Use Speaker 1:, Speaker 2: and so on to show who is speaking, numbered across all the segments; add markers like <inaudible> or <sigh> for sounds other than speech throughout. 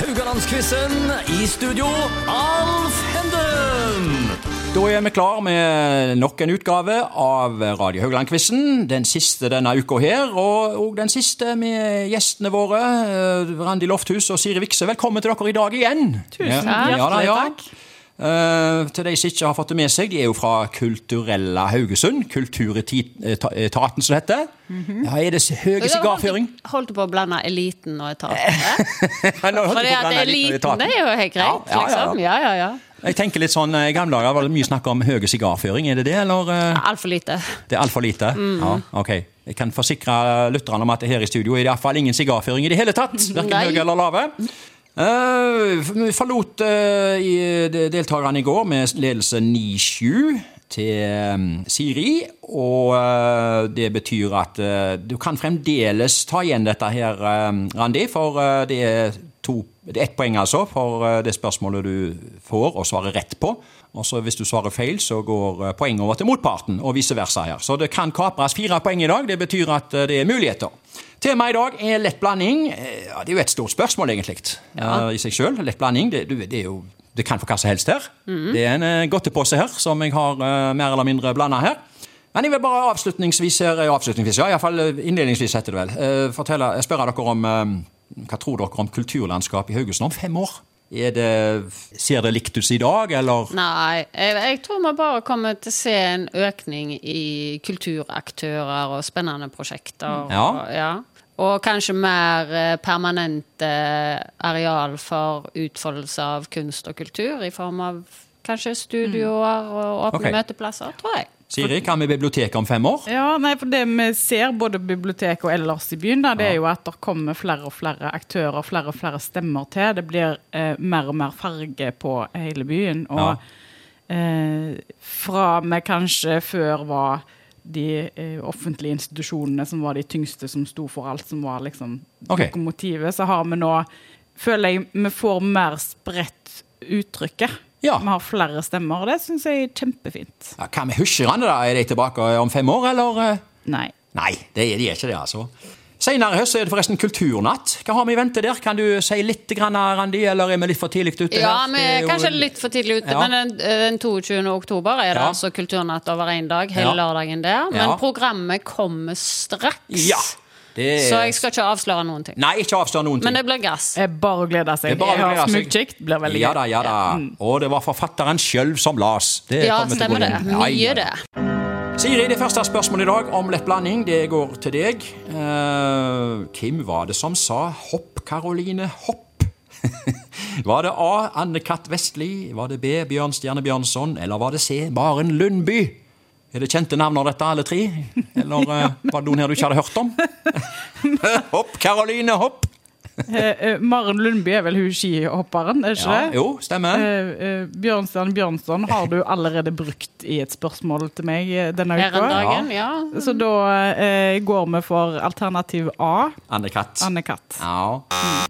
Speaker 1: Haugalandsquizen i studio, Alf Henden!
Speaker 2: Da er vi klar med nok en utgave av Radio Haugland-quizen. Den siste denne uka her, og, og den siste med gjestene våre. eh, Randi Lofthus og Siri Vikse, velkommen til dere i dag igjen. Tusen
Speaker 3: hjertelig takk.
Speaker 2: Eh, til de som ikke har fått det med seg, de er jo fra Kulturella Haugesund. Kulturetaten, som det heter.
Speaker 3: Mhm.
Speaker 2: ja, er det høy
Speaker 3: <laughs>
Speaker 2: sigarføring?
Speaker 3: Holdt på å blande eliten og
Speaker 2: <laughs>
Speaker 3: etaten.
Speaker 2: Nei, nå holdt
Speaker 3: For
Speaker 2: jeg
Speaker 3: det
Speaker 2: på å
Speaker 3: at
Speaker 2: blande eliten og
Speaker 3: eliten,
Speaker 2: etaten.
Speaker 3: det er jo helt greit,
Speaker 2: Ja, ja, ja.
Speaker 3: liksom. Ja, ja, ja.
Speaker 2: Jeg tenker litt sånn, eh, I gamle dager var det mye snakk om høy sigarføring. Er det det, eller? eh?
Speaker 3: Altfor lite.
Speaker 2: Det er altfor lite? Ja, ok. Jeg kan forsikre lytterne om at her i studio er det iallfall ingen sigarføring i det hele tatt. Verken
Speaker 3: Nei.
Speaker 2: høye eller lave. Eh, vi forlot eh, i- de- deltakerne i går med ledelse 9-7 til eh, Siri. Og eh, det betyr at eh, du kan fremdeles ta igjen dette her, eh, Randi, for eh, det er to det er ett poeng altså for eh, det spørsmålet du får og svarer rett på. Og så Hvis du svarer feil, så går eh, poenget over til motparten, og vice versa. her. Så det kan kapres fire poeng i dag. Det betyr at eh, det er muligheter. Temaet i dag er lett blanding. Eh, Ja, det er jo et stort spørsmål, egentlig, eh, i seg sjøl. Lett blanding, det, du- det er jo det kan få hva som helst her. Det er en eh, godtepose her som jeg har eh, mer eller mindre blanda her. Men jeg vil bare avslutningsvis her, ja, avslutningsvis, ja, i hvert fall eh, innledningsvis heter det vel, eh, fortelle, jeg spør dere om, eh, hva tror dere om kulturlandskapet i Haugesund om fem år? Er det, ser det likt ut i dag, eller?
Speaker 3: Nei, jeg, jeg tror vi bare kommer til å se en økning i kulturaktører og spennende prosjekter.
Speaker 2: Ja.
Speaker 3: Og, ja. og kanskje mer eh, permanente areal for utfoldelse av kunst og kultur, i form av kanskje studioer og åpne
Speaker 2: Mm. Ok.
Speaker 3: møteplasser, tror jeg.
Speaker 2: Siri, hva med biblioteket om fem år?
Speaker 4: Ja, nei, for Det vi ser både på biblioteket og ellers i byen, da, det er jo at det kommer flere og flere aktører flere og flere stemmer til. Det blir eh, mer og mer farge på hele byen.
Speaker 2: Ja.
Speaker 4: Og eh, fra vi kanskje før var de eh, offentlige institusjonene som var de tyngste som sto for alt som var liksom
Speaker 2: Ok.
Speaker 4: lokomotivet, så har vi nå Føler jeg vi får mer spredt uttrykket.
Speaker 2: Ja.
Speaker 4: Vi har flere stemmer, og det syns jeg er kjempefint.
Speaker 2: Ja, hva med husjerne da? Er de tilbake om fem år, eller? eh?
Speaker 4: Nei.
Speaker 2: Nei, det er, de er ikke det, altså. Senere i høst er det forresten kulturnatt. Hva har vi i vente der? Kan du si litt, grann, Randi, eller er vi litt for tidlig ute?
Speaker 3: Ja,
Speaker 2: her?
Speaker 3: vi
Speaker 2: Det er
Speaker 3: er
Speaker 2: jo-
Speaker 3: kanskje litt for tidlig ute,
Speaker 2: Ja.
Speaker 3: men den, eh, den 22. oktober er det
Speaker 2: Ja.
Speaker 3: altså kulturnatt over én dag, hele
Speaker 2: Ja.
Speaker 3: lørdagen der. Men
Speaker 2: Ja.
Speaker 3: programmet kommer straks,
Speaker 2: Ja, det er...
Speaker 3: så jeg skal ikke avsløre noen ting.
Speaker 2: Nei, ikke avstå noen ting.
Speaker 3: Men det blir gass.
Speaker 4: Det er bare å glede seg.
Speaker 2: Det er bare å
Speaker 4: Jeg har
Speaker 2: glede seg.
Speaker 4: Smugkjekt blir veldig
Speaker 2: Ja
Speaker 4: gøy.
Speaker 2: da, ja da. Og det var forfatteren sjøl som las. Det
Speaker 3: Mm. Ja,
Speaker 2: kommer til å gå
Speaker 3: stemmer det.
Speaker 2: inn. Ja, ja,
Speaker 3: Mye
Speaker 2: ja.
Speaker 3: det.
Speaker 2: Siri, det første spørsmålet i dag om lett blanding, det går til deg. Eh, hvem var det som sa 'hopp, Karoline, hopp'? <laughs> var det A. Anne-Kat. Vestli? Var det B. Bjørn Stjerne Bjørnson? Eller var det C. Maren Lundby? Er det kjente navner, dette, alle tre? Eller
Speaker 3: <laughs>
Speaker 2: eh, var det noen her du ikke hadde hørt om? <laughs> hopp, Karoline, hopp!
Speaker 4: Eh, eh, Maren Lundby er vel hun skihopperen, er ikke
Speaker 2: Ja,
Speaker 4: det?
Speaker 2: jo, stemmer.
Speaker 4: Eh, eh, Bjørnstjerne Bjørnson har du allerede brukt i et spørsmål til meg eh, denne
Speaker 3: Her om
Speaker 4: uka.
Speaker 3: dagen, ja.
Speaker 4: Så da eh, går vi for alternativ A,
Speaker 2: Anne-Kat.
Speaker 4: Anne-Kat.
Speaker 2: Ja.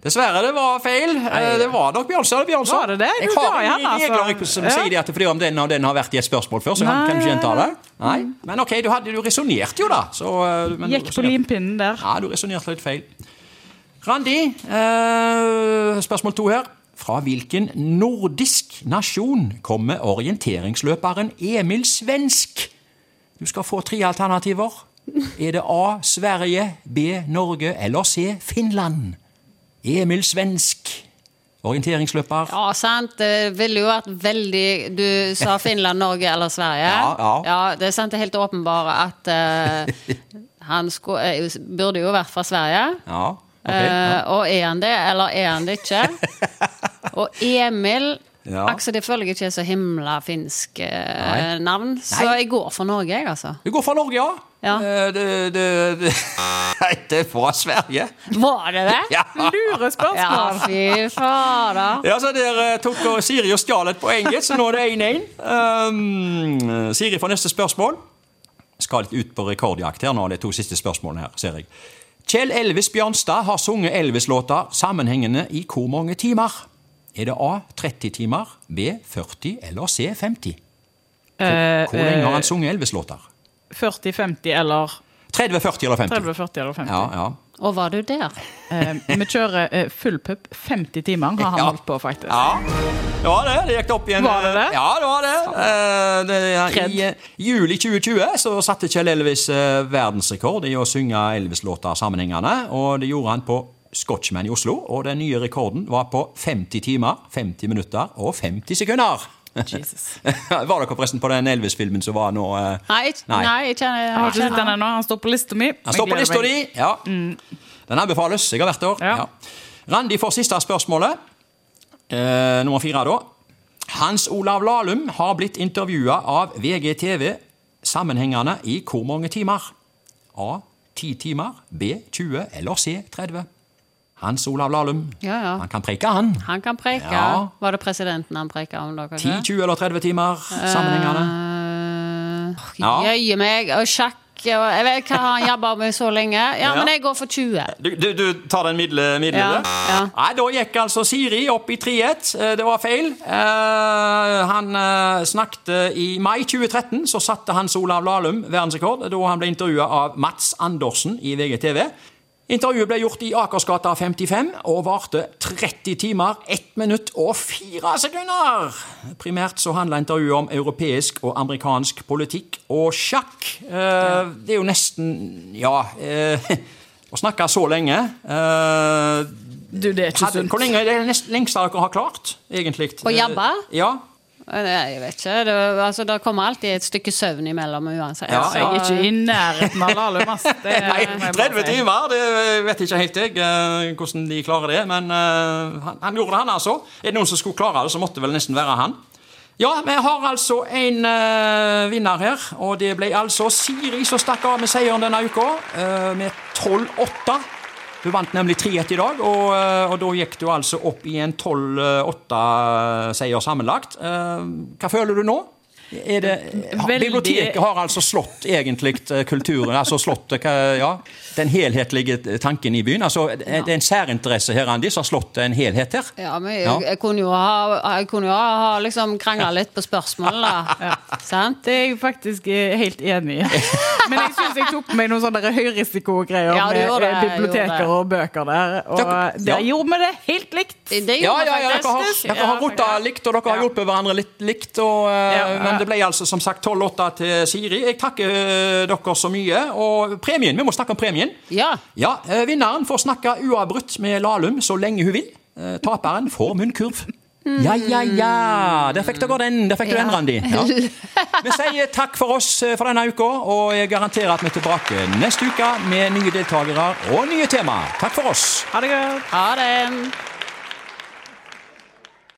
Speaker 2: Dessverre, det var feil. Eh, Det var nok Bjørnstjerne Bjørnson.
Speaker 4: Var det det?
Speaker 2: Jeg
Speaker 4: Du
Speaker 2: har
Speaker 4: var
Speaker 2: ingen
Speaker 4: igjen, altså.
Speaker 2: regler jeg, som
Speaker 4: Ja.
Speaker 2: sier det at fordi om den og den har vært i et spørsmål før, så kan
Speaker 4: Nei,
Speaker 2: kan du ikke gjenta
Speaker 4: ja,
Speaker 2: det. Nei. Men ok, du, hadde- du resonnerte jo, da. Så, eh, men,
Speaker 4: Gikk på
Speaker 2: resonerte-
Speaker 4: limpinnen der.
Speaker 2: Ja, du resonnerte litt feil. Randi, eh, spørsmål to her. Fra hvilken nordisk nasjon kommer orienteringsløperen Emil Svensk? Du skal få tre alternativer. Er det A. Sverige, B. Norge eller C. Finland? Emil Svensk, orienteringsløper.
Speaker 3: Ja, sant. Det ville jo vært veldig
Speaker 2: <laughs>
Speaker 3: Du sa Finland, Norge eller Sverige.
Speaker 2: Ja, ja.
Speaker 3: Det er sant, det er helt åpenbare at
Speaker 2: <laughs>
Speaker 3: eh, han sko, eh, burde jo vært fra Sverige.
Speaker 2: Ja, ok.
Speaker 3: Eh,
Speaker 2: Ja.
Speaker 3: og er han det, eller er han det
Speaker 2: <laughs>
Speaker 3: ikke? og Emil
Speaker 2: Ja.
Speaker 3: Altså, det føler jeg ikke er så himla finsk eh,
Speaker 2: Nei.
Speaker 3: navn, så
Speaker 2: Nei.
Speaker 3: jeg går for Norge, jeg, altså.
Speaker 2: Du går fra Norge, ja?
Speaker 3: Ja.
Speaker 2: Eh, Det, det, det. <laughs> Nei, det er fra Sverige.
Speaker 3: Var det det?
Speaker 2: Ja.
Speaker 4: Lure
Speaker 3: Ja,
Speaker 4: spørsmål!
Speaker 3: fy fader.
Speaker 2: Ja, så Der eh, tok og Siri og stjal et poeng, gitt, så nå er det 1-1. Um, Siri får neste spørsmål. Skal litt ut på rekordjakt her nå, de to siste spørsmålene her, ser jeg. Kjell Elvis Bjørnstad har sunget Elvis-låta sammenhengende i hvor mange timer? Er det A 30 timer, B 40 eller C 50?
Speaker 4: Eh,
Speaker 2: Hvor lenge har
Speaker 4: eh,
Speaker 2: han sunget Elvis-låter?
Speaker 4: 40, 50 eller
Speaker 2: 30, 40 eller 50?
Speaker 4: 30, 40 eller 50.
Speaker 2: Ja, ja.
Speaker 3: Og var du der?
Speaker 4: Eh, vi kjører eh, full pupp. 50 timer har han
Speaker 2: Ja.
Speaker 4: holdt på, faktisk.
Speaker 2: Ja, det var det. Det gikk det opp igjen.
Speaker 4: Var det det?
Speaker 2: Ja, det var det. Eh, det ja,
Speaker 4: Kred.
Speaker 2: I eh, juli 2020 så satte Kjell Elvis eh, verdensrekord i å synge Elvis-låter sammenhengende, og det gjorde han på Scotchman i Oslo, og den nye rekorden var på 50 timer, 50 minutter og 50 sekunder. <laughs>
Speaker 4: Jesus.
Speaker 2: var dere forresten på den Elvis-filmen som var nå? eh?
Speaker 3: Nei, nei. jeg kjenner
Speaker 4: Jeg har ikke
Speaker 3: kjenner-
Speaker 4: sett den ennå. Han står på lista mi.
Speaker 2: Han står på
Speaker 4: Jeg
Speaker 2: lista
Speaker 4: gleder meg.
Speaker 2: di! Ja. Den anbefales. Jeg har vært der.
Speaker 4: Ja.
Speaker 2: Mm. Ja. Randi får siste spørsmålet. Eh, nummer fire, da. Hans Olav Lahlum har blitt intervjua av VGTV sammenhengende i hvor mange timer? A. 10 timer. B. 20. Eller C. 30. Hans Olav Lahlum.
Speaker 3: Ja, ja.
Speaker 2: Han kan preike, han.
Speaker 3: Han kan preike.
Speaker 2: Ja.
Speaker 3: Var det presidenten han preika om, da? kanskje?
Speaker 2: 10, 20 eller 30 timer sammenhengende.
Speaker 3: Eh,
Speaker 2: Ja.
Speaker 3: Jøye meg. Og sjakk og Jeg vet hva han jabba med så lenge. Ja,
Speaker 2: Ja.
Speaker 3: men jeg går for 20.
Speaker 2: Du, du, du tar den middel- middelet?
Speaker 3: Ja, ja.
Speaker 2: Nei, da gikk altså Siri opp i 3-1. Eh, Det var feil. Eh, han eh, snakket i mai 2013, så satte Hans Olav Lahlum verdensrekord da han ble intervjua av Mats Andersen i VGTV. Intervjuet ble gjort i Akersgata 55 og varte 30 timer, 1 minutt og 4 sekunder! Primært så handla intervjuet om europeisk og amerikansk politikk og sjakk. Eh, Det er jo nesten Ja. Eh, <laughs> å snakke så lenge eh,
Speaker 4: Du, det er ikke
Speaker 2: hadde,
Speaker 4: sunt.
Speaker 2: Hvor lenge er det nest, lengste dere har klart, egentlig?
Speaker 3: Å jabbe?
Speaker 2: Eh, Ja.
Speaker 3: Eh, Jeg vet ikke. Det, altså, det kommer alltid et stykke søvn imellom uansett.
Speaker 2: Ja,
Speaker 3: Så-
Speaker 4: Jeg er ikke i nærheten av Lahlum,
Speaker 2: <laughs>
Speaker 4: ass. Det er-
Speaker 2: Nei,
Speaker 4: må jeg bare
Speaker 2: 30
Speaker 4: si.
Speaker 2: timer! Det vet ikke helt jeg eh, hvordan de klarer det. Men eh, han, han gjorde det, han altså. Er det noen som skulle klare det, så måtte det vel nesten være han. Ja, vi har altså en eh, vinner her, og det ble altså Siri som stakk av med seieren denne uka, eh, med 12-8. Hun vant nemlig 3-1 i dag, og, eh, og da gikk du altså opp i en 12-8-seier sammenlagt. Eh, Hva føler du nå? Er det, har-
Speaker 4: Veldig-
Speaker 2: Biblioteket har altså slått egentlig eh, kulturen, altså slått eh, hva- ja, den helhetlige tanken i byen. Altså, det er det er en særinteresse her, Randi, som har slått en helhet her.
Speaker 3: Ja, men
Speaker 2: Ja.
Speaker 3: jeg, jeg kunne jo ha, jeg kunne jo ha liksom krangla litt på spørsmål, da. <laughs> Sant?
Speaker 4: Det er jeg faktisk eh, helt enig i. <laughs> Men jeg syns jeg tok på meg noen sånne høyrisikogreier
Speaker 3: Ja, du
Speaker 4: med
Speaker 3: gjorde det,
Speaker 4: eh, biblioteker
Speaker 3: gjorde det.
Speaker 4: og bøker der. Og
Speaker 2: Takk.
Speaker 4: der
Speaker 2: Ja.
Speaker 4: gjorde vi det helt likt.
Speaker 3: Det
Speaker 2: Ja,
Speaker 3: gjorde
Speaker 2: ja, ja,
Speaker 3: jeg
Speaker 2: dere har,
Speaker 3: faktisk.
Speaker 2: dere har
Speaker 4: Ja,
Speaker 2: rota
Speaker 4: faktisk.
Speaker 2: likt, og dere har
Speaker 4: Ja.
Speaker 2: hjulpet hverandre litt likt. Og, eh,
Speaker 4: Ja, ja.
Speaker 2: Men det ble altså som sagt 12-8 til Siri. Jeg takker eh, dere så mye. Og premien, vi må snakke om premien.
Speaker 3: Ja.
Speaker 2: Ja, eh, Vinneren får snakke uavbrutt med Lahlum så lenge hun vil. Eh, Taperen får munnkurv. Ja, ja, ja! Der fikk dere den, der fikk du den,
Speaker 3: Ja.
Speaker 2: Randi. Ja. Vi sier takk for oss eh, for denne uka, og jeg garanterer at vi er tilbake neste uke med nye deltakere og nye temaer. Takk for oss.
Speaker 4: Ha det godt.
Speaker 3: Ha det.